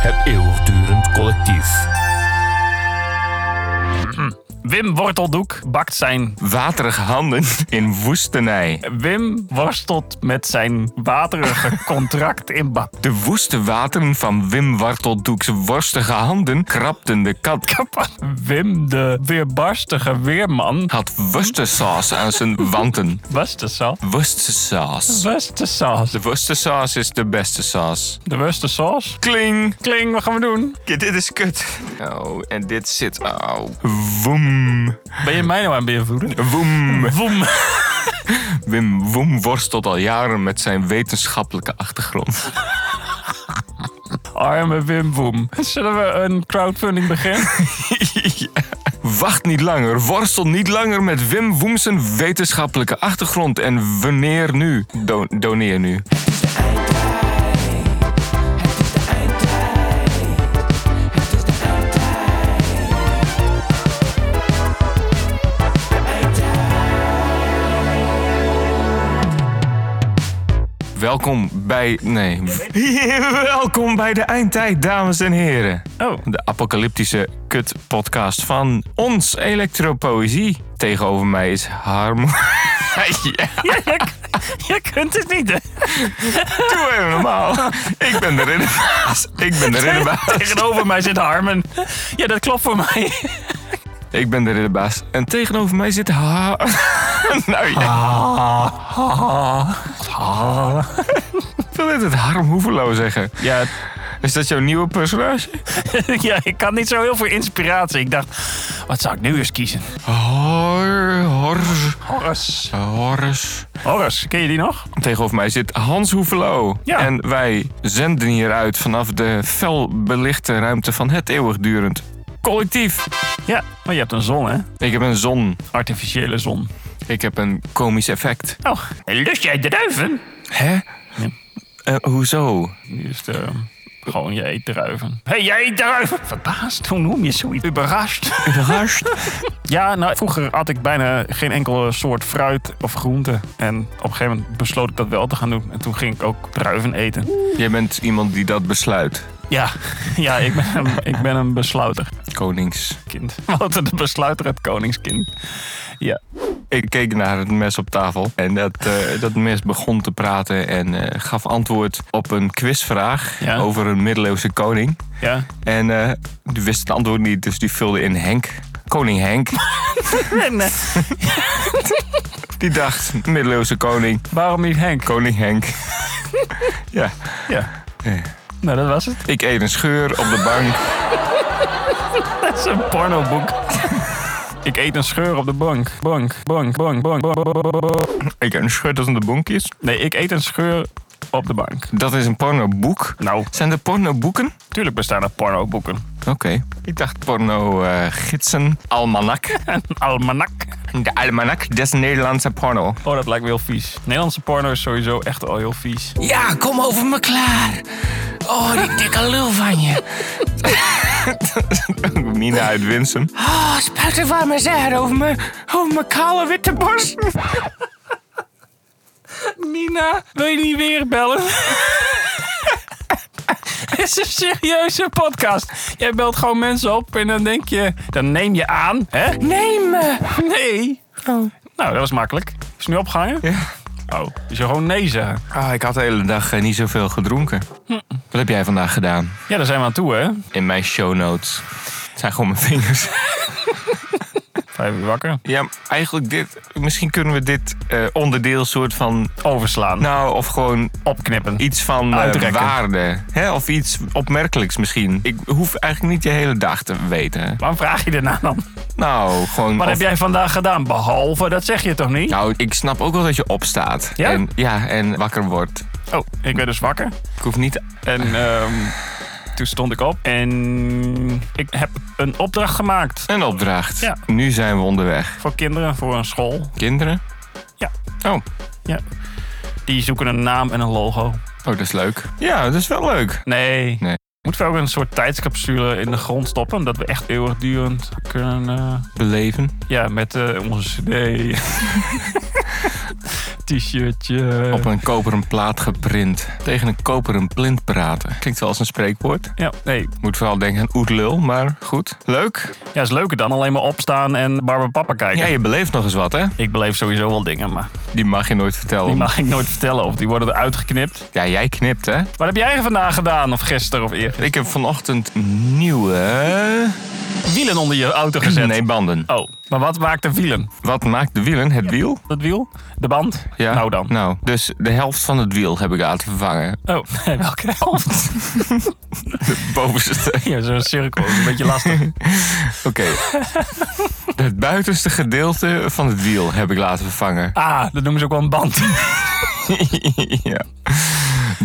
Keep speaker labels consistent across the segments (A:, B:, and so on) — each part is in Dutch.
A: Het eeuwigdurend collectief.
B: Wim Worteldoek bakt zijn.
C: Waterige handen in woestenij.
B: Wim worstelt met zijn waterige contract in bad.
C: De woeste wateren van Wim Warteldoek's worstige handen krabden de kat.
B: Wim, de weerbarstige weerman,
C: Had worstensaus aan zijn wanten.
B: was de saus.
C: Worstensaus.
B: Was de saus.
C: De worstensaus is de beste saus.
B: De was de saus.
C: Kling!
B: Kling, wat gaan we doen?
C: Ja, dit is kut. Oh, en dit zit. Oh. Woem.
B: Ben je mij nou aan het beïnvloeden?
C: Woem.
B: Woem.
C: Wim Woem worstelt al jaren met zijn wetenschappelijke achtergrond.
B: Arme Wim Woem. Zullen we een crowdfunding beginnen?
C: Wacht niet langer, worstel niet langer met Wim Woem zijn wetenschappelijke achtergrond. En wanneer nu? Do- doneer nu. Welkom bij. Nee. Welkom bij de eindtijd, dames en heren.
B: Oh,
C: De apocalyptische kut-podcast van ons Elektropoëzie. Tegenover mij is Harm. ja,
B: je kunt het niet, hè?
C: doe even normaal. Ik ben de ridderbaas. Ik ben de ridderbaas.
B: Tegenover mij zit Harmen. Ja, dat klopt voor mij.
C: Ik ben de ridderbaas. En tegenover mij zit Har... nou ja. Ik wil net het Harm Hoevelo zeggen.
B: Ja,
C: Is dat jouw nieuwe personage?
B: ja, ik kan niet zo heel veel inspiratie. Ik dacht, wat zou ik nu eens kiezen?
C: Hor... Hor...
B: Horus.
C: Horus.
B: Horus, ken je die nog?
C: Tegenover mij zit Hans Hoevelo.
B: Ja.
C: En wij zenden hieruit vanaf de fel belichte ruimte van het eeuwigdurend collectief.
B: Ja, maar je hebt een zon, hè?
C: Ik heb een zon.
B: Artificiële zon.
C: Ik heb een komisch effect.
B: Oh, lust jij druiven?
C: Hè? Eh, hoezo?
B: Die is de, gewoon, je eet druiven. Hé, hey, jij eet druiven! Verbaasd, hoe noem je zoiets? Überrascht.
C: Überrascht?
B: Ja, nou, vroeger had ik bijna geen enkele soort fruit of groente. En op een gegeven moment besloot ik dat wel te gaan doen. En toen ging ik ook druiven eten.
C: Jij bent iemand die dat besluit.
B: Ja, ja ik, ben een, ik ben een besluiterkind.
C: Konings.
B: Wouter de besluiter, het koningskind. Ja.
C: Ik keek naar het mes op tafel en dat, eh, dat mes begon te praten en eh, gaf antwoord op een quizvraag
B: Ja.
C: over een middeleeuwse koning.
B: Ja.
C: En eh, die wist het antwoord niet, dus die vulde in Henk. Koning Henk.
B: eh,
C: Die dacht, middeleeuwse koning,
B: waarom niet Henk?
C: koning Henk. ja,
B: Ja. Nou, dat was het.
C: ik eet een scheur op de bank.
B: Dat is een pornoboek. Ik eet een scheur op de bank. Bank, bank, bank, bank. bank.
C: Ik eet een scheur tussen de bonkjes.
B: Nee, ik eet een scheur op de bank.
C: Dat is een pornoboek.
B: Nou,
C: Zijn er pornoboeken?
B: tuurlijk bestaan er pornoboeken.
C: Oké. Ik dacht porno-gidsen, almanak.
B: En almanak.
C: De almanak des Nederlandse porno.
B: Oh, dat lijkt me heel vies. Nederlandse porno is sowieso echt al heel vies.
C: Ja, kom over me klaar. Oh, die dikke lul van je. Mina uit Winsum. Oh, spuit er warme zaad over me, over mijn kale witte borst.
B: Nina, wil je niet weer bellen? Het is een serieuze podcast. Jij belt gewoon mensen op en dan denk je... Dan neem je aan, hè?
C: Neem me.
B: Nee. Nou, dat was makkelijk. Is het nu opgehangen? Oh, dus je gewoon nee zeggen.
C: Ah, ik had de hele dag eh, niet zoveel gedronken.
B: Hm.
C: Wat heb jij vandaag gedaan?
B: Ja, daar zijn we aan toe, hè?
C: In mijn show notes. Het zijn gewoon mijn vingers.
B: Vijf uur wakker.
C: Ja, eigenlijk dit. Misschien kunnen we dit eh, onderdeel soort van.
B: Overslaan.
C: Nou, of gewoon
B: Opknippen.
C: iets van eh,
B: Uitrekken.
C: waarde. Hè? Of iets opmerkelijks misschien. Ik hoef eigenlijk niet je hele dag te weten.
B: Waarom vraag je daarna dan?
C: Nou, gewoon.
B: Wat
C: of-
B: heb jij vandaag gedaan? Behalve, dat zeg je toch niet?
C: Nou, ik snap ook wel dat je opstaat.
B: Ja?
C: En, ja, en wakker wordt.
B: Oh, ik ben dus wakker.
C: Ik hoef niet.
B: En ehm, toen stond ik op en ik heb een opdracht gemaakt
C: Een opdracht.
B: Ja.
C: Nu zijn we onderweg.
B: voor kinderen, voor een school.
C: Kinderen?
B: Ja.
C: Oh.
B: Ja. Die zoeken een naam en een logo.
C: Oh, dat is leuk. Ja, dat is wel leuk.
B: Nee.
C: Nee.
B: Moeten we ook een soort tijdscapsule in de grond stoppen? Dat we echt eeuwigdurend kunnen... eh,
C: Beleven.
B: ja, met eh, onze cd.
D: t-shirtje.
C: Op een koperen plaat geprint. Tegen een koperen plint praten. Klinkt wel als een spreekwoord.
B: Ja, nee.
C: Moet vooral denken aan oetlul, maar goed. Leuk.
B: Ja, is leuker dan alleen maar opstaan en Barbara Papa kijken.
C: Ja, je beleeft nog eens wat, hè?
B: Ik beleef sowieso wel dingen, maar
C: Die mag je nooit vertellen.
B: die mag ik nooit vertellen. Of die worden eruit geknipt.
C: Ja, jij knipt, hè?
B: Wat heb jij vandaag gedaan? Of gisteren of eergisteren?
C: Ik heb vanochtend nieuwe...
B: Wielen onder je auto gezet.
C: Nee, banden.
B: Oh, maar wat maakt de wielen?
C: Wat maakt de wielen? Het wiel?
B: Dat wiel? De band? Nou dan.
C: Nou, dus de helft van het wiel heb ik laten vervangen.
B: Oh, nee, welke helft?
C: De bovenste.
B: Ja, zo'n cirkel. Een beetje lastig.
C: Oké. het buitenste gedeelte van het wiel heb ik laten vervangen.
B: Ah, dat noemen ze ook wel een band.
C: ja.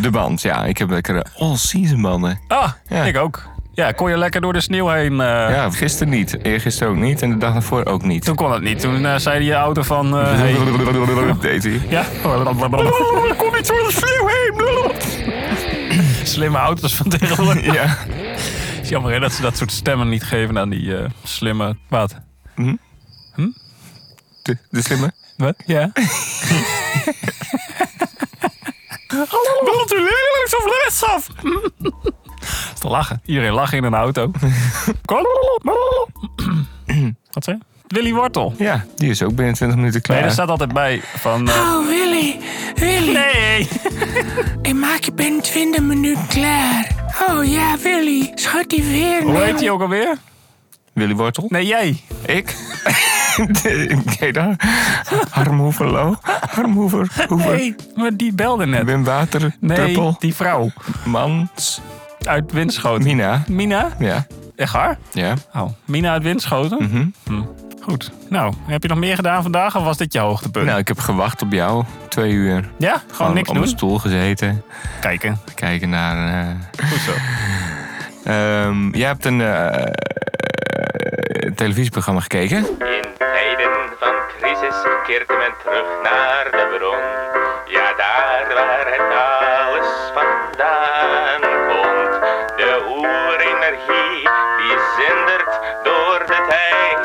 C: De band, ja. Ik heb lekkere all-season banden.
B: Ah,
C: Ja.
B: ik ook. Ja, kon je lekker door de sneeuw heen. eh,
C: Ja, gisteren niet. Eergisteren ook niet. En de dag daarvoor ook niet.
B: Toen kon dat niet. Toen eh, zei je auto van... eh, hey.
C: Deed hij.
B: Ja,
C: Er komt iets door de sneeuw heen.
B: slimme auto's van tegenwoordig.
C: Ja.
B: Het is jammer hè, dat ze dat soort stemmen niet geven aan die eh, slimme... Wat?
C: De, de slimme.
B: Wat? Ja. Hallo, wilt u links of rechtsaf? Is te lachen. Iedereen lacht in een auto. Kom. Wat zei je? Willy Wortel.
C: Ja, die is ook binnen 20 minuten klaar.
B: Nee, daar staat altijd bij van... eh,
E: Oh, Willy, Willy,
B: nee!
E: ik maak je binnen 20 minuten klaar. Oh ja, Willy, schud die weer.
B: Hoe
E: man.
B: heet die ook alweer?
C: Willy Wortel.
B: Nee, jij.
C: Ik? Nee, daar. Harmhoever, Lo. Harmhoever. Hoever.
B: Nee, maar die belde net.
C: Wim Water.
B: Nee,
C: Purple.
B: die vrouw
C: Mans.
B: uit Winschoten.
C: Mina.
B: Mina?
C: Ja.
B: Echt haar?
C: Ja.
B: Oh, Mina uit Winschoten? Hm. Goed. Nou, heb je nog meer gedaan vandaag of was dit je hoogtepunt?
C: Nou, ik heb gewacht op jou. Twee uur. Gewoon,
B: ja, gewoon, niks
C: op
B: doen.
C: een stoel gezeten.
B: Kijken.
C: Kijken naar... eh,
B: Goed zo.
C: Ehm, jij hebt een eh, eh, televisieprogramma gekeken.
F: In tijden van crisis keert men terug naar de bron. Ja, daar waar het alles vandaan komt. De oerenergie die zindert door de tijd.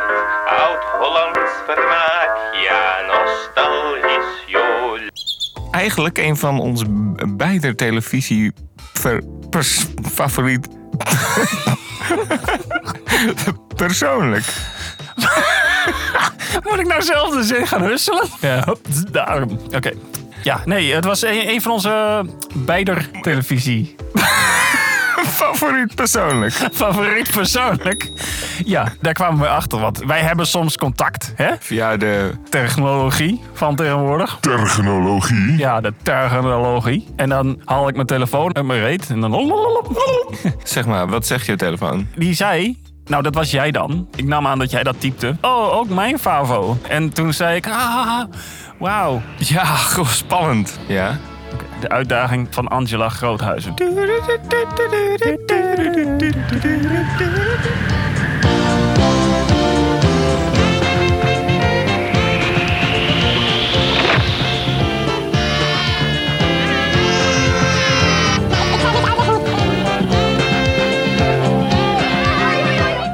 F: Oud-Hollands vermaak, ja, nostalgisch jool.
C: Eigenlijk een van onze b- beide televisie ver- pers- favoriet. Persoonlijk.
B: Moet ik nou zelf de zin gaan husselen? Ja, hop, daarom. Oké. Ja, nee, het was een, een van onze eh, beider televisie.
C: Favoriet persoonlijk.
B: Favoriet persoonlijk. Ja, daar kwamen we achter. Want wij hebben soms contact, hè?
C: Via de.
B: Technologie van tegenwoordig.
A: Terminologie.
B: Ja, de terminologie. En dan haal ik mijn telefoon uit mijn reet. En dan...
C: Zeg maar, wat zegt je telefoon?
B: Die zei... Nou, dat was jij dan. Ik nam aan dat jij dat typte. Oh, ook mijn favo. En toen zei ik... Ah, wauw.
C: Ja, goh, spannend. Ja.
B: De uitdaging van Angela Groothuizen.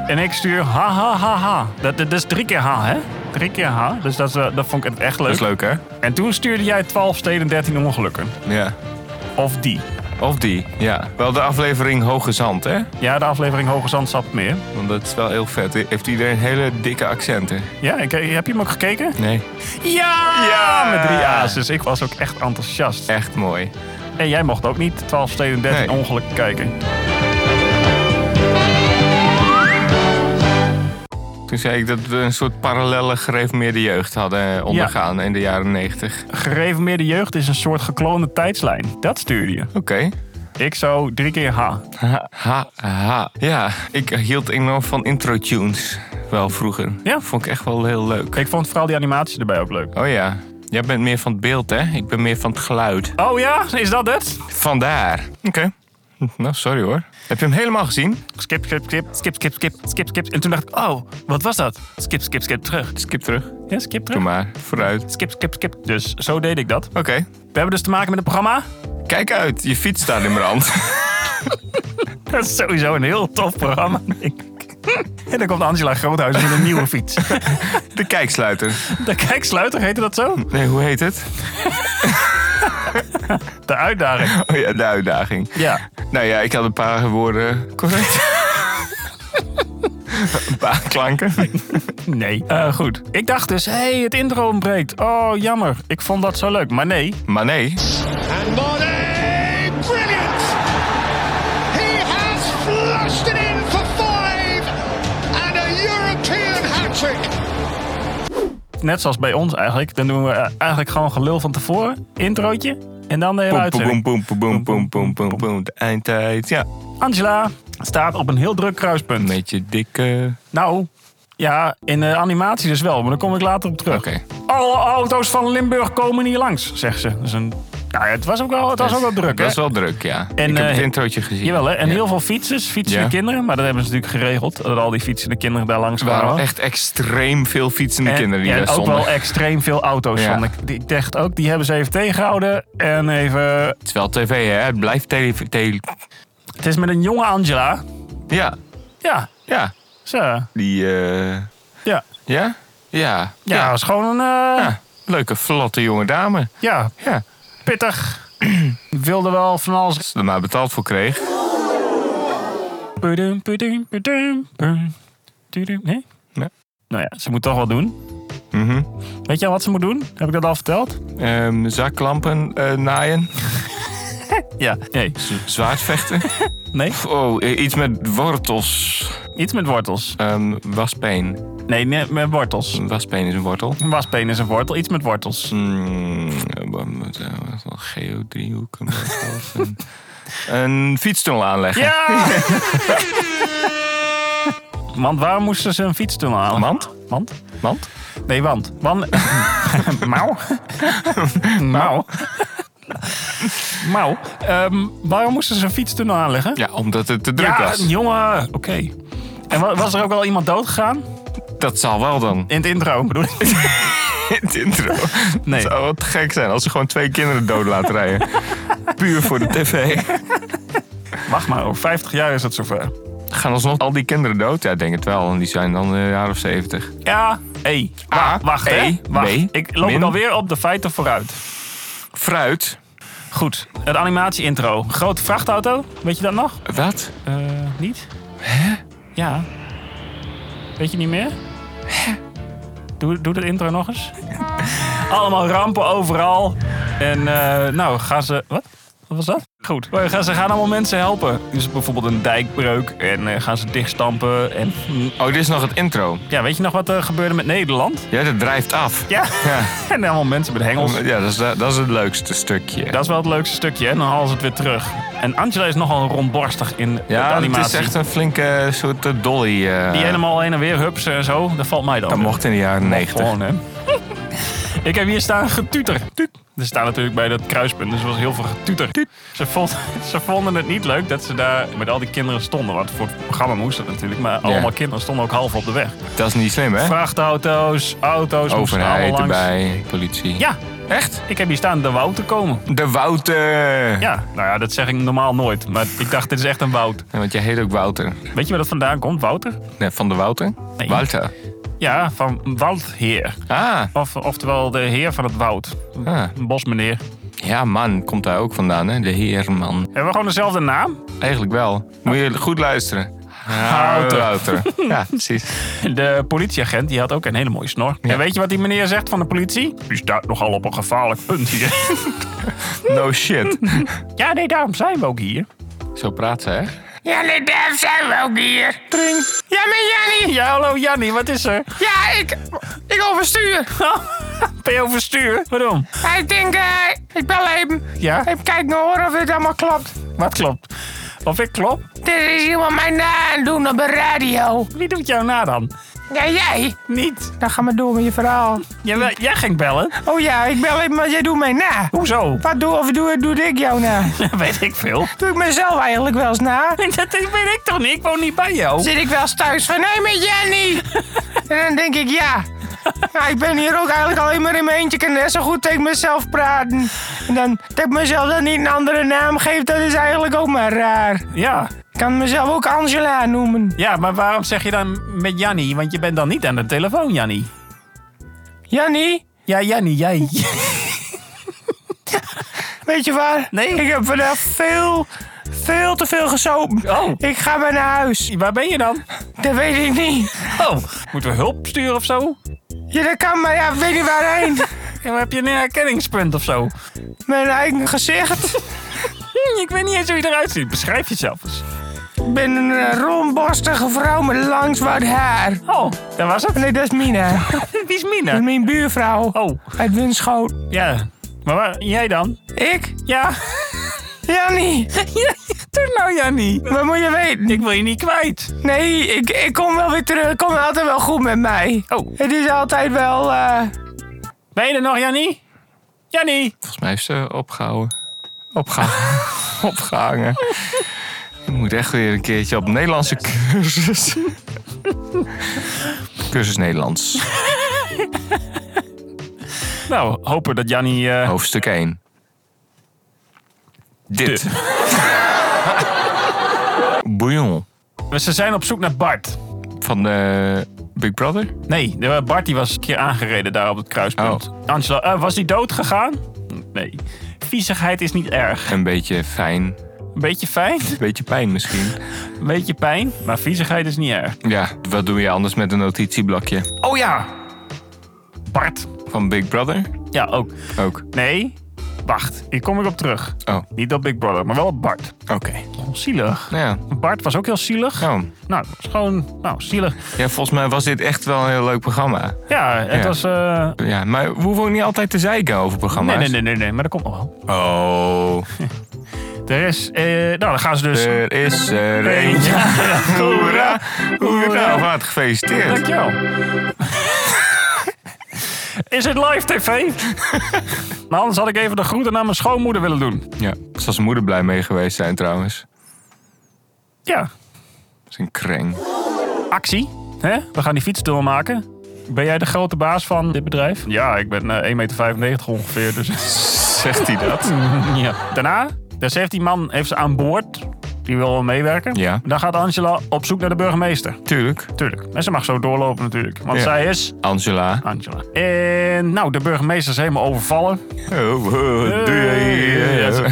B: En ik stuur ha ha ha ha. Dat, dat is drie keer ha, hè? Drie keer ha. Dus dat, is, eh, dat vond ik echt
C: Dat
B: leuk.
C: is leuk, hè?
B: En toen stuurde jij 12 steden 13 ongelukken.
C: Ja.
B: Of die.
C: Of die, ja. Wel de aflevering Hoge Zand, hè?
B: Ja, de aflevering Hoge Zand zat meer.
C: Want dat is wel heel vet. Heeft iedereen hele dikke accenten?
B: Ja, ik, eh, heb je hem ook gekeken?
C: Nee.
B: Ja!
C: Ja!
B: Met drie A's. Dus ik was ook echt enthousiast.
C: Echt mooi.
B: En jij mocht ook niet 12 steden 13
C: Nee.
B: ongelukken kijken.
C: Toen zei ik dat we een soort parallele gereformeerde jeugd hadden eh, ondergaan in de jaren 90. Oké.
B: Gereformeerde jeugd is een soort gekloonde tijdslijn. Dat stuurde je. Ik zou drie keer H.
C: Ha, ha, ha. Ja, ik hield enorm van intro-tunes. Wel vroeger.
B: Ja.
C: Vond ik echt wel heel leuk.
B: Ik vond vooral die animatie erbij ook leuk.
C: Oh ja. Jij bent meer van het beeld, hè? Ik ben meer van het geluid.
B: Oh ja, is dat het?
C: Vandaar. Oké. Nou, sorry hoor. Heb je hem helemaal gezien?
B: Skip, skip, skip, skip, skip, skip, skip, skip. En toen dacht ik, oh, wat was dat? Skip, skip, skip, terug.
C: Skip terug.
B: Ja, skip,
C: Doe
B: terug.
C: maar. Vooruit.
B: Skip, skip, skip. Dus zo deed ik dat.
C: Oké.
B: We hebben dus te maken met een programma.
C: Kijk uit. Je fiets staat in brand.
B: Dat is sowieso een heel tof programma, denk ik. En dan komt Angela Groothuis met een nieuwe fiets.
C: De kijksluiter.
B: De kijksluiter, heette dat zo?
C: Nee, hoe heet het?
B: De uitdaging.
C: Oh ja, de uitdaging.
B: Ja.
C: Nou ja, ik had een paar woorden correct. een paar klanken.
B: Nee. Eh, goed. Ik dacht dus, hé, hey, het intro ontbreekt. Oh, jammer. Ik vond dat zo leuk. Maar nee,
C: Maar nee,
D: And Monet, brilliant! He has flushed it in for five and a European hat trick.
B: net zoals bij ons eigenlijk, dan doen we eh, eigenlijk gewoon gelul van tevoren. Introotje. En dan de hele
C: Poem,
B: uitzending.
C: poem, poem, poem, poem, poem, poem, poem, poem. De eindtijd. Ja,
B: Angela staat op een heel druk kruispunt.
C: met je dikke...
B: Nou, ja, in de animatie dus wel, maar daar kom ik later op terug.
C: Oké.
B: Alle auto's van Limburg komen hier langs, zegt ze. Dus een, nou ja, het was ook wel, het was ook wel druk,
C: Dat
B: hè?
C: is wel druk, ja.
B: En,
C: ik heb
B: eh,
C: het introotje gezien.
B: Jawel, hè? En
C: Ja.
B: heel veel fietsers, fietsende
C: Ja.
B: kinderen. Maar dat hebben ze natuurlijk geregeld, dat al die fietsende kinderen daar langs
C: Er waren
B: kwamen.
C: echt extreem veel fietsende
B: En-
C: kinderen die
B: en
C: daar
B: ook
C: stonden.
B: wel extreem veel auto's.
C: Ja.
B: want ik- die- Ik dacht ook, die hebben ze even tegengehouden. En even...
C: Het is wel tv, hè? Het blijft tele... tele-
B: Het is met een jonge Angela.
C: Ja,
B: Ja,
C: ja.
B: ze, ja.
C: Die, eh,
B: Ja,
C: Ja? Ja.
B: ja. is gewoon een... eh,
C: Ja. Ah, Leuke, vlotte jonge dame.
B: ja,
C: Ja.
B: pittig. Wilde wel van alles
C: Als ze er maar betaald voor kreeg.
B: Pudum, pudum, pudum, pum. Tudum. Nee?
C: Nee.
B: Nou ja, ze moet toch wel doen.
C: Mhm.
B: Weet je al wat ze moet doen? Heb ik dat al verteld?
C: Ehm, zakklampen eh, naaien.
B: Ja. Nee.
C: Z- Zwaardvechten.
B: Nee?
C: Oh, eh, iets met wortels.
B: Iets met wortels.
C: Ehm waspeen.
B: Nee, nee met wortels.
C: Een Waspeen is een wortel.
B: Een waspeen is een wortel. Iets met wortels.
C: Mm, eh, wat moet- eh, wat is dat? geodriehoek. een wortel, een- Een fietstunnel aanleggen.
B: Ja! Want waar moesten ze een fietstunnel halen?
C: Mand?
B: Mand?
C: Want?
B: Nee, want. Want. Mouw. Mouw. Mouw. Ehm, waarom moesten ze een fietstunnel aanleggen?
C: Ja, omdat het te druk was.
B: jongen. Oké. En wa- was er ook al iemand doodgegaan?
C: Dat zal wel dan.
B: In het intro bedoel ik.
C: In het intro.
B: Nee.
C: Het zou wat gek zijn als ze gewoon twee kinderen dood laten rijden. Puur voor de tv.
B: Wacht maar, over 50 jaar is het zover.
C: Gaan alsnog al die kinderen dood? Ja, ik denk het wel. En die zijn dan eh, een jaar of zeventig.
B: Ja, E.
C: A,
B: Wa- wacht, hè.
C: E,
B: Wacht.
C: B,
B: Ik loop
C: min.
B: alweer op de feiten vooruit.
C: Fruit.
B: Goed, het animatie-intro. Grote vrachtauto, weet je dat nog?
C: Wat?
B: Eh, niet? Hè? Ja. Weet je niet meer? Doe, doe dat intro nog eens. Allemaal rampen overal. En eh, nou, gaan ze... Wat? Wat was dat? Goed. Maar gaan, ze gaan allemaal mensen helpen. Dus bijvoorbeeld een dijkbreuk. En eh, gaan ze dichtstampen. En hm,
C: Oh, dit is nog het intro.
B: ja, weet je nog wat er gebeurde met Nederland?
C: Ja, dat drijft af.
B: Ja. en allemaal mensen met hengels.
C: Ja, dat is, eh, dat is het leukste stukje.
B: Dat is wel het leukste stukje. hè? En dan halen ze het weer terug. En Angela is nogal rondborstig in de
C: ja, het
B: animatie.
C: is echt een flinke soort eh, dolly. eh.
B: Die helemaal heen en weer hupsen en zo. Dat valt mij dan.
C: Dat mocht in de jaren negentig.
B: Gewoon, hè. Ik heb hier staan getuter. Tuut. Er staan natuurlijk bij dat kruispunt, dus er was heel veel getuter. Ze, vond, ze vonden het niet leuk dat ze daar met al die kinderen stonden. Want voor het programma moest dat natuurlijk. Maar allemaal kinderen stonden ook half op de weg.
C: Dat is niet slim, hè?
B: Vrachtauto's, auto's, moesten allemaal
C: Overheid
B: langs.
C: erbij, politie.
B: Ja,
C: Echt?
B: ik heb hier staan de woud te komen.
C: De Wouter.
B: Ja, nou ja, dat zeg ik normaal nooit. Maar ik dacht, dit is echt een woud.
C: Ja, Want jij heet ook Wouter.
B: Weet je waar dat vandaan komt, Wouter?
C: Nee, van de Wouter?
B: Nee.
C: Wouter.
B: Ja, van Woudheer.
C: Ah,
B: Of, oftewel de heer van het woud.
C: ah.
B: Een bosmeneer.
C: Ja, man, komt daar ook vandaan, hè? De heerman.
B: Hebben we gewoon dezelfde naam?
C: Eigenlijk wel. Moet je goed luisteren.
B: Wouter.
C: Wouter. Ja, precies.
B: De politieagent die had ook een hele mooie snor. En weet je wat die meneer zegt van de politie? Die staat nogal op een gevaarlijk punt hier.
C: No shit.
B: ja, nee, daarom zijn we ook hier.
C: Zo praat ze, hè?
E: Ja, nee, daar zijn we ook hier. Ja, maar Jannie.
B: Ja, hallo Jannie, wat is er?
E: Ja, ik, ik overstuur.
B: Ben je overstuur? Waarom?
E: Ja, ik denk, eh, ik bel even.
B: Ja,
E: Even kijken hoor of dit allemaal klopt.
B: wat klopt? Of ik klop?
E: Dit is iemand mij na aan doen op de radio.
B: Wie doet jou na dan?
E: Ja, jij?
B: Niet.
E: Dan ga maar door met je verhaal.
B: Jij, jij ging bellen?
E: Oh ja, ik bel even, maar jij doet mij na.
B: Hoezo?
E: Wat doe, of doe, doe ik jou na?
B: weet ik veel.
E: Doe ik mezelf eigenlijk wel eens na?
B: Dat weet ik toch niet? Ik woon niet bij jou.
E: Zit ik wel eens thuis van, hé met Jenny! en dan denk ik, ja. Ja, ik ben hier ook eigenlijk alleen maar in mijn eentje. Ik kan net zo goed tegen mezelf praten. En dan dat ik mezelf dan niet een andere naam geef, dat is eigenlijk ook maar raar.
B: Ja.
E: kan mezelf ook Angela noemen.
B: Ja, maar waarom zeg je dan met Jannie? Want je bent dan niet aan de telefoon, Jannie.
E: Jannie,
B: Ja, Jannie, jij.
E: weet je waar?
B: Nee.
E: Ik heb vandaag veel, veel te veel gesopen.
B: Oh.
E: Ik ga maar naar huis.
B: Waar ben je dan?
E: Dat weet ik niet.
B: Oh, moeten we hulp sturen of zo?
E: Ja, dat kan, maar ja, ik weet niet waarheen.
B: Ja, maar heb je een herkenningspunt of zo?
E: Mijn eigen gezicht.
B: Hm, Ik weet niet eens hoe je eruit ziet. Beschrijf jezelf eens.
E: Ik ben een eh, rondborstige vrouw met lang zwart haar.
B: Oh, daar was het.
E: Nee, dat is Mina. Dat
B: Wie is
E: is
B: Mina?
E: mijn buurvrouw.
B: Oh,
E: Uit Winschoot.
B: ja. Maar waar, jij dan?
E: Ik?
B: Ja.
E: Jannie,
B: Ja, Doe nou, Jannie.
E: wat moet je weten?
B: Ik wil je niet kwijt.
E: Nee, ik, ik kom wel weer terug. Het komt altijd wel goed met mij.
B: Oh,
E: Het is altijd wel... eh,
B: ben je er nog, Jannie? Jannie.
C: Volgens mij heeft ze opgehouden. Opgehangen. opgehangen. Ik moet echt weer een keertje op Nederlandse cursus. cursus Nederlands.
B: Nou, hopen dat Jannie... eh,
C: Hoofdstuk 1. Dit. Bouillon.
B: Ze zijn op zoek naar Bart.
C: Van eh, Big Brother?
B: Nee, de- eh, Bart die was een keer aangereden daar op het kruispunt. Angela, eh, was hij dood gegaan? Nee. Viezigheid is niet erg.
C: Een beetje fijn. Een
B: Een beetje fijn,
C: beetje pijn misschien.
B: een beetje pijn, maar viezigheid is niet erg.
C: Ja, wat doe je anders met een notitieblokje?
B: Oh ja! Bart.
C: Van Big Brother?
B: Ja, ook.
C: Ook.
B: Nee, wacht. Hier kom ik op terug.
C: Oh, oké.
B: Niet op Big Brother, maar wel op Bart. Oh, zielig.
C: Nou
B: Bart was ook heel zielig.
C: ja. Oh.
B: Nou, het was gewoon nou, zielig.
C: ja, volgens mij was dit echt wel een heel leuk programma.
B: Ja, het
C: Ja.
B: was... eh,
C: Ja, maar we hoeven ook niet altijd te zeiken over programma's.
B: Nee, nee, nee, nee, nee, maar dat komt nog wel.
C: Oh,
B: Er is... eh, nou, dan gaan ze dus...
C: er is er eentje.
B: Ja, ja.
C: Hoera, hoera. Of wat gefeliciteerd.
B: Dankjewel. Is het live tv? maar anders had ik even de groeten naar mijn schoonmoeder willen doen.
C: Ja, zal zijn moeder blij mee geweest zijn trouwens.
B: Ja,
C: Dat is een kreng.
B: actie. hè? We gaan die fietstour maken. Ben jij de grote baas van dit bedrijf? Ja, ik ben eh, 1,95 meter ongeveer. Dus.
C: Zegt hij dat?
B: ja. Daarna, dus heeft die man heeft ze aan boord. Die wil wel meewerken.
C: Ja.
B: Dan gaat Angela op zoek naar de burgemeester.
C: Tuurlijk.
B: Tuurlijk. En ze mag zo doorlopen natuurlijk. Want
C: Ja.
B: zij is
C: Angela.
B: Angela. En nou, de burgemeester is helemaal overvallen. Dus,
C: Oh, oh, doe je hier?
B: Ja, zo.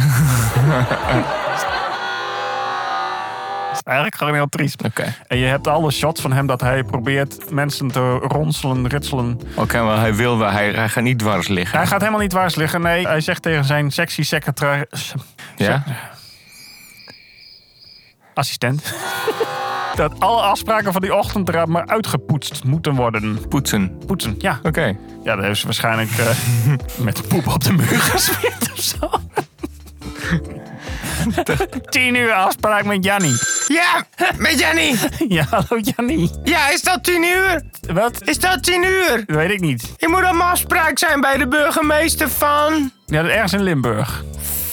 B: is eigenlijk gewoon heel triest.
C: Oké.
B: En je hebt alle shots van hem dat hij probeert mensen te ronselen, ritselen.
C: Oké, maar hij wil wel. Hij, hij gaat niet dwars liggen.
B: Hij gaat helemaal niet dwars liggen. Nee, hij zegt tegen zijn sexy secretaris...
C: Ja?
B: assistent... dat alle afspraken van die ochtendraad maar uitgepoetst moeten worden.
C: Poetsen.
B: Poetsen, ja.
C: Oké.
B: Ja, dat heeft ze waarschijnlijk eh, met poep op de muur gesmeerd of zo. Tien uur afspraak met Jannie.
E: ja, met Jannie.
B: Ja, hallo Jannie.
E: Ja, is dat tien uur?
B: Wat?
E: Is dat tien uur?
B: Dat weet ik niet.
E: Ik moet op mijn afspraak zijn bij de burgemeester van...
B: Ja, dat ergens in Limburg.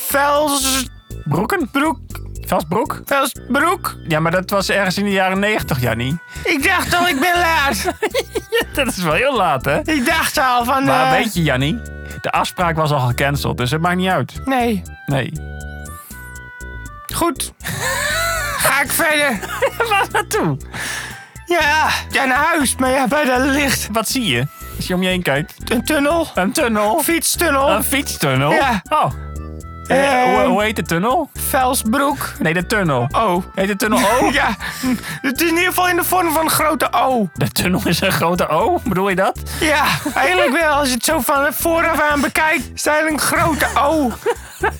E: Vels...
B: Broeken? Broek. Velsbroek?
E: Velsbroek?
B: Ja, maar dat was ergens in de jaren negentig, Jannie.
E: Ik dacht al, ik ben laat.
B: Dat is wel heel laat, hè?
E: Ik dacht al van...
B: Maar
E: eh,
B: weet je, Jannie, de afspraak was al gecanceld, dus het maakt niet uit.
E: Nee,
B: Nee.
E: goed. Ga ik verder.
B: Waar naartoe?
E: Ja, ja, naar huis. Maar ja, bij dat licht.
B: Wat zie je? Als je om je heen kijkt.
E: Een tunnel.
B: Een tunnel.
E: Fietstunnel.
B: Een fietstunnel?
E: Ja.
B: Oh.
E: Eh,
B: hoe, hoe heet de tunnel?
E: Velsbroek.
B: Nee, de tunnel.
E: Oh.
B: Heet de tunnel O?
E: Ja, het is in ieder geval in de vorm van een grote O.
B: De tunnel is een grote O, bedoel je dat?
E: Ja, eigenlijk wel. Als je het zo van vooraf aan bekijkt, is het eigenlijk een grote O.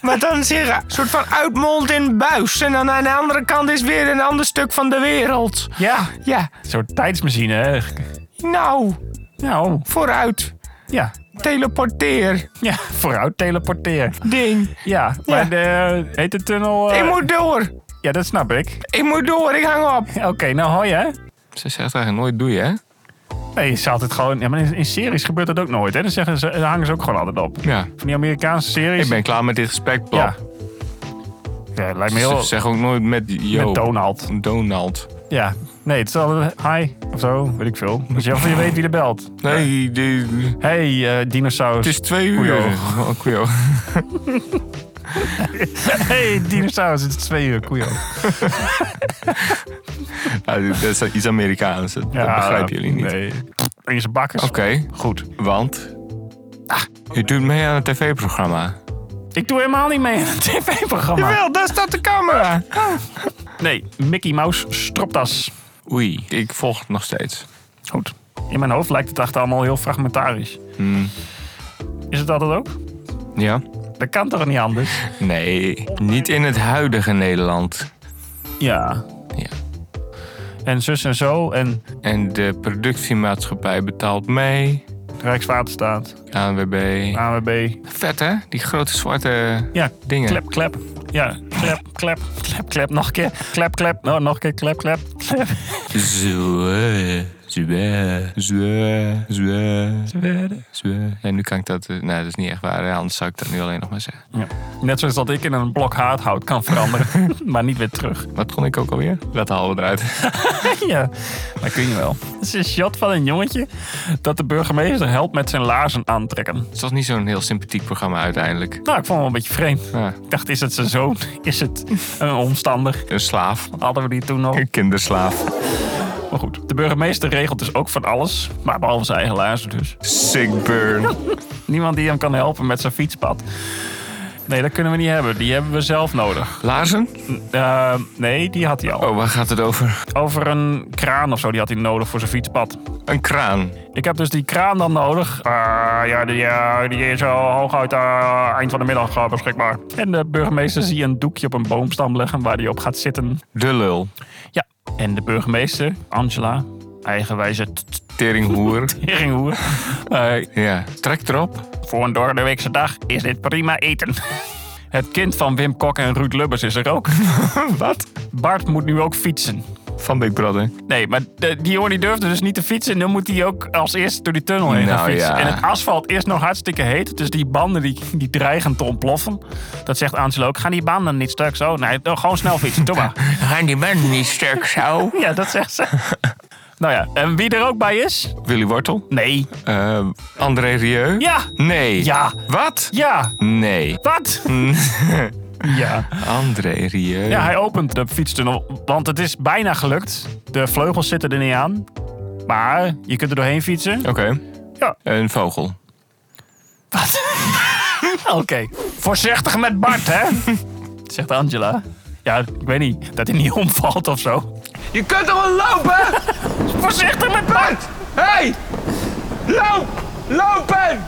E: Maar dan zeg je, een soort van uitmond in een buis. En dan aan de andere kant is weer een ander stuk van de wereld.
B: Ja.
E: Ja,
B: Een soort tijdsmachine, hè?
E: nou,
B: Nou,
E: vooruit.
B: ja.
E: Teleporteer.
B: Ja, vooruit teleporteer.
E: Ding.
B: Ja, maar de, heet de tunnel... eh,
E: Ik moet door.
B: Ja, dat snap ik.
E: Ik moet door. Ik hang op.
B: Oké, nou hoi hè.
C: Ze zegt eigenlijk nooit doe je, hè?
B: Nee, ze altijd gewoon... Ja, maar in, in series gebeurt dat ook nooit hè. Dan, zeggen ze, dan hangen ze ook gewoon altijd op.
C: Ja.
B: Van die Amerikaanse series.
C: Ik ben klaar met dit gesprek, Bob.
B: Ja. Ja, lijkt me heel...
C: Ze zeggen ook nooit met yo.
B: Met Donald.
C: Donald.
B: Ja. Nee, het is altijd hi of zo, weet ik veel. Dus je, je weet wie er belt.
C: Nee, die-
B: Hey, eh, dinosaurus.
C: het is twee uur.
B: Goeie.
C: Oh, goeie.
B: hey, dinosaurus, het is twee uur, koeien.
C: Ja, dat is iets Amerikaans. Dat, dat begrijpen jullie niet.
B: Nee. In zijn bakkers.
C: Oké,
B: Goed.
C: want... Ah, je doet mee aan een tv-programma.
B: Ik doe helemaal niet mee aan het tv-programma.
E: Wel, daar staat de camera.
B: Nee, Mickey Mouse stropdas.
C: Oei, ik volg het nog steeds.
B: Goed. In mijn hoofd lijkt het echt allemaal heel fragmentarisch.
C: Hmm.
B: Is het dat het ook?
C: Ja?
B: Dat kan toch niet anders?
C: Nee, niet in het huidige Nederland.
B: Ja.
C: Ja.
B: En zus en zo en
C: En de productiemaatschappij betaalt mee.
B: Rijkswaterstaat,
C: ANWB.
B: AWB.
C: Vet hè? Die grote zwarte
B: Ja,
C: dingen.
B: klep, klep. Ja, klep, klep, klep, klep. Nog een keer. Klep, klep. Nou, nog een keer. Klep, klep. klep.
C: Zwe, zwe, zwe, zwe, zwe. Nee, nu kan ik dat... eh, Nee, dat is niet echt waar. hè, Anders zou ik dat nu alleen nog maar zeggen.
B: Ja. Net zoals dat ik in een blok haardhout kan veranderen, maar niet weer terug.
C: Wat kon ik ook alweer? Dat halen we eruit.
B: Ja, dat kun je wel. Het is een shot van een jongetje dat de burgemeester helpt met zijn laarzen aantrekken.
C: Het was niet zo'n heel sympathiek programma uiteindelijk.
B: Nou, ik vond het wel een beetje vreemd.
C: Ja,
B: Ik dacht, is het zijn zoon? Is het een omstander?
C: een slaaf.
B: Hadden we die toen nog?
C: Een kinderslaaf.
B: Maar goed, de burgemeester regelt dus ook van alles, maar behalve zijn eigen laarzen dus.
C: Sick burn.
B: Niemand die hem kan helpen met zijn fietspad. Nee, dat kunnen we niet hebben. Die hebben we zelf nodig.
C: Laarzen?
B: Eh, nee, die had hij al.
C: Oh, waar gaat het over?
B: Over een kraan of zo, die had hij nodig voor zijn fietspad.
C: Een kraan.
B: Ik heb dus die kraan dan nodig. Eh, ja, die, eh, die is al hooguit eh, eind van de middag eh, beschikbaar. En de burgemeester zie een doekje op een boomstam leggen waar hij op gaat zitten.
C: De lul.
B: Ja, en de burgemeester, Angela, eigenwijze t- t-
C: Teringhoer.
B: teringhoer. Eh,
C: Ja. Trek erop.
B: voor een doordeweekse dag is dit prima eten. Het kind van Wim Kok en Ruud Lubbers is er ook.
C: Wat?
B: Bart moet nu ook fietsen.
C: Van Big Brother.
B: Nee, maar de- die jongen die durfde dus niet te fietsen. En dan moet hij ook als eerste door die tunnel heen gaan
C: Nou
B: fietsen.
C: ja.
B: En het asfalt is nog hartstikke heet. Dus die banden die, die dreigen te ontploffen. Dat zegt Angelo ook. Gaan die banden niet stuk zo? Nee, nou, gewoon snel fietsen. Doe maar.
C: Gaan die man niet sterk zo?
B: ja, dat zegt ze. nou ja, en wie er ook bij is?
C: Willy Wortel?
B: Nee.
C: Eh, André Rieu?
B: Ja.
C: Nee.
B: Ja.
C: Wat?
B: Ja.
C: Nee.
B: Wat? ja.
C: André Rieu.
B: Ja, hij opent de fietstunnel, want het is bijna gelukt. De vleugels zitten er niet aan. Maar je kunt er doorheen fietsen.
C: Oké.
B: Ja.
C: Een vogel.
B: Oké. Voorzichtig met Bart, hè? Zegt Angela. Ja, ik weet niet. Dat hij niet omvalt of zo.
E: Je kunt toch wel lopen?
B: Voorzichtig met Bart!
E: Hey! Loop! Lopen!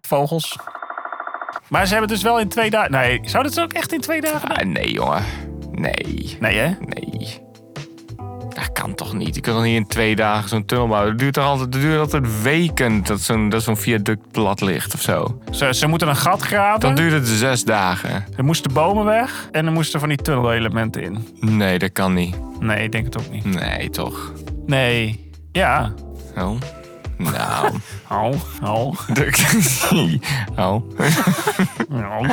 B: Vogels. Maar ze hebben dus wel in twee dagen... Nee, zou dat ze ook echt in twee dagen... doen?
C: Ah, nee, jongen. Nee.
B: Nee, hè?
C: Nee. Dat kan toch niet? Je kunt toch niet in twee dagen zo'n tunnel bouwen? Dat duurt, toch altijd, dat duurt altijd weken dat zo'n dat zo'n viaduct plat ligt of zo.
B: Ze, ze moeten een gat graven.
C: Dan duurt het zes dagen.
B: Er moesten bomen weg. En er moesten van die tunnelelementen in.
C: Nee, dat kan niet.
B: Nee, ik denk het ook niet.
C: Nee, toch?
B: Nee. Ja.
C: Oh. Nou.
B: Au, au,
C: Dat- oh.
B: au.
C: Nou.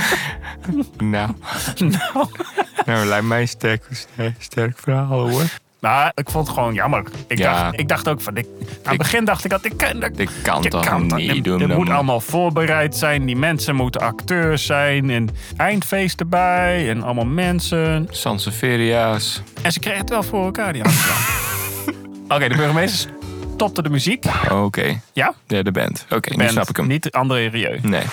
B: Nou.
C: Nou, lijkt mij een sterk, sterk, sterk verhaal hoor.
B: Nou, ik vond het gewoon jammer. Ik,
C: Ja.
B: dacht, ik dacht ook van... Ik, aan het begin dacht ik dat ik... kan- dat-
C: Dit kan
B: je
C: toch
B: dat
C: niet doen?
B: Er
C: dan
B: moet allemaal voorbereid zijn. Die mensen moeten acteurs zijn. En eindfeest erbij. En allemaal mensen.
C: Sanseveria's.
B: En ze kregen het wel voor elkaar, die Amsterdam. Oké, de burgemeester stopte de muziek.
C: Oké.
B: Ja?
C: Ja, de band. Oké, nu
B: Band,
C: snap ik hem.
B: Niet André Rieu.
C: Nee.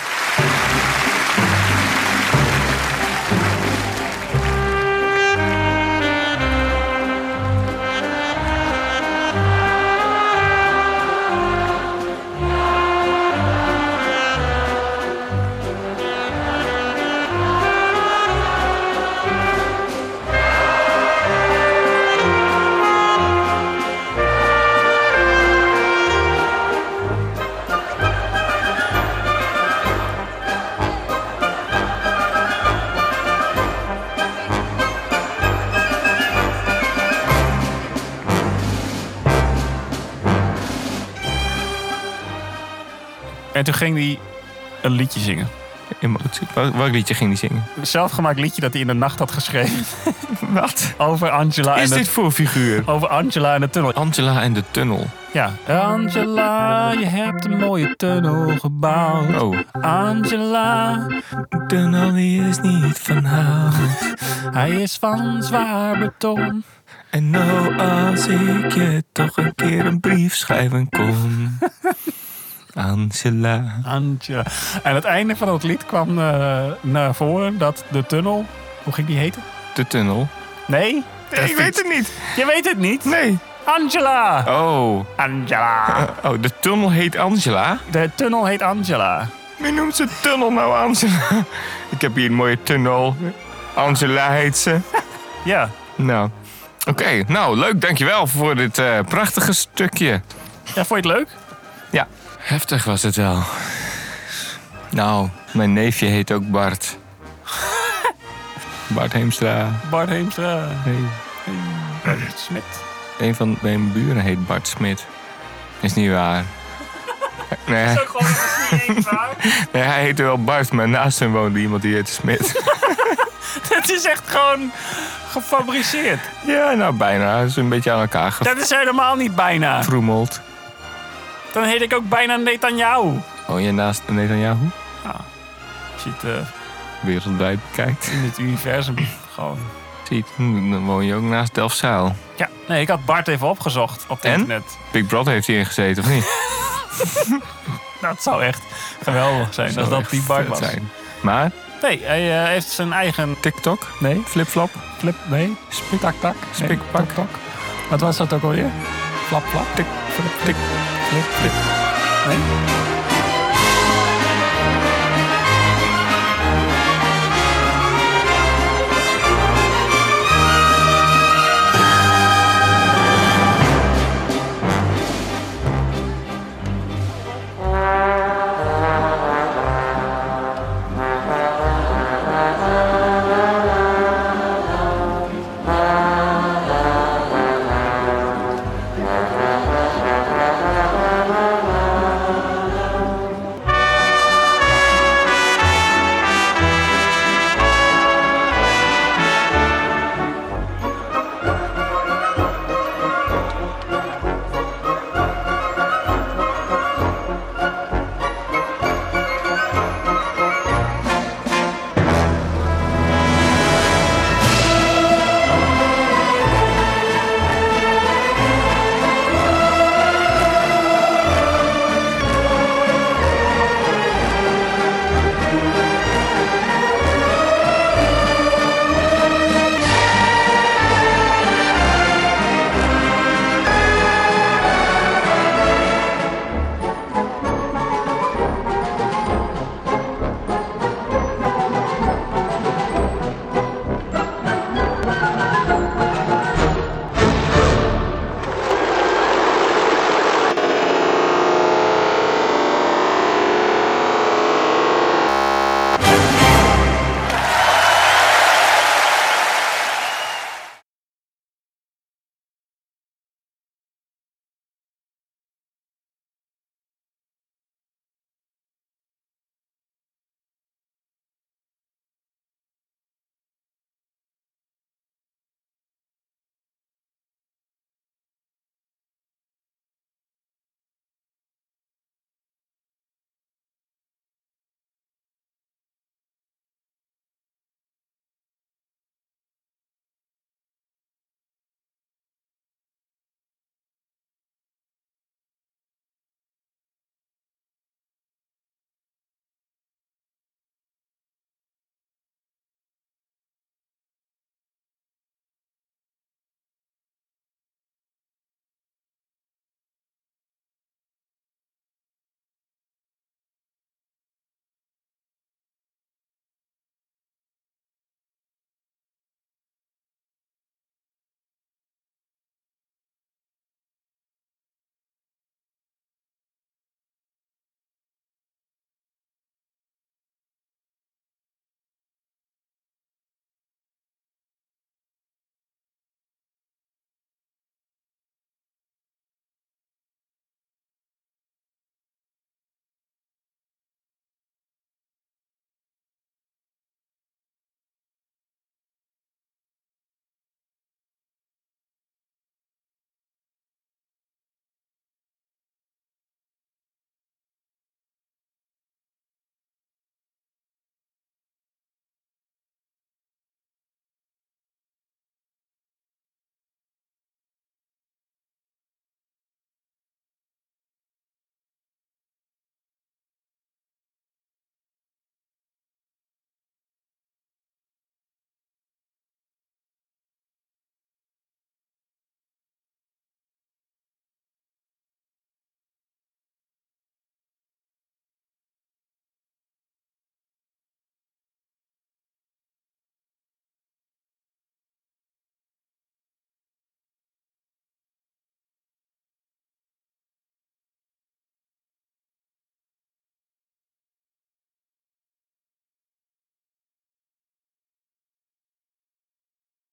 B: En toen ging hij een liedje zingen.
C: Emotie. Wel- Welk liedje ging die zingen?
B: Zelfgemaakt liedje dat hij in de nacht had geschreven.
C: Wat?
B: Over Angela, en
C: Is dit
B: de,
C: voor figuur?
B: over Angela en de tunnel.
C: Angela en Ah, de tunnel.
B: Ja. Angela, je hebt een mooie tunnel gebouwd.
C: Oh.
B: Angela,
C: Tunnel die is niet van hout.
B: hij is van zwaar beton.
C: En nou als ik je toch een keer een brief schrijven kon. Angela.
B: Antje. Aan het einde van dat lied kwam eh, naar voren dat de tunnel. Hoe ging die heten?
C: De tunnel.
B: Nee?
E: Ik weet het niet.
B: Je weet het niet?
E: Nee.
B: Angela!
C: Oh.
B: Angela!
C: Oh, de tunnel heet Angela?
B: De tunnel heet Angela.
C: Wie noemt ze tunnel nou Angela? Ik heb hier een mooie tunnel. Angela heet ze.
B: Ja.
C: Nou. Oké, nou leuk, dankjewel voor dit eh, prachtige stukje.
B: ja. Vond je het leuk?
C: Ja. Heftig was het wel. Nou, mijn neefje heet ook Bart. Bart Heemstra.
B: Bart Heemstra.
C: Hey.
B: Bart Smit.
C: Een van mijn buren heet Bart Smit. Is niet waar. Nee,
B: Gewoon even
C: nee, hij heette wel Bart, maar naast hem woonde iemand die heette Smit.
B: Het is echt gewoon gefabriceerd.
C: Ja, nou bijna. Hij is een beetje aan elkaar
B: Dat is helemaal niet bijna.
C: gefroemeld.
B: Dan heet ik ook bijna Netanyahu.
C: Woon je Oh, naast Netanyahu?
B: Als je het eh,
C: Wereldwijd bekijkt.
B: in het universum gewoon...
C: Ziet, hm, dan woon je ook naast Delfzijl.
B: Ja, nee, ik had Bart even opgezocht op het
C: En?
B: internet.
C: Big Brother heeft hierin gezeten, of niet?
B: Dat zou echt geweldig zijn als
C: Zou
B: dat die
C: Oh, echt vet
B: Bart was.
C: zijn. Maar,
B: Nee, hij eh, heeft zijn eigen...
C: TikTok,
B: Nee,
C: flipflap,
B: flip, nee, tak tak.
C: Spikpak.
B: Wat was dat ook alweer? Flap flap.
C: tik, tik, flip, flip.
B: Nee.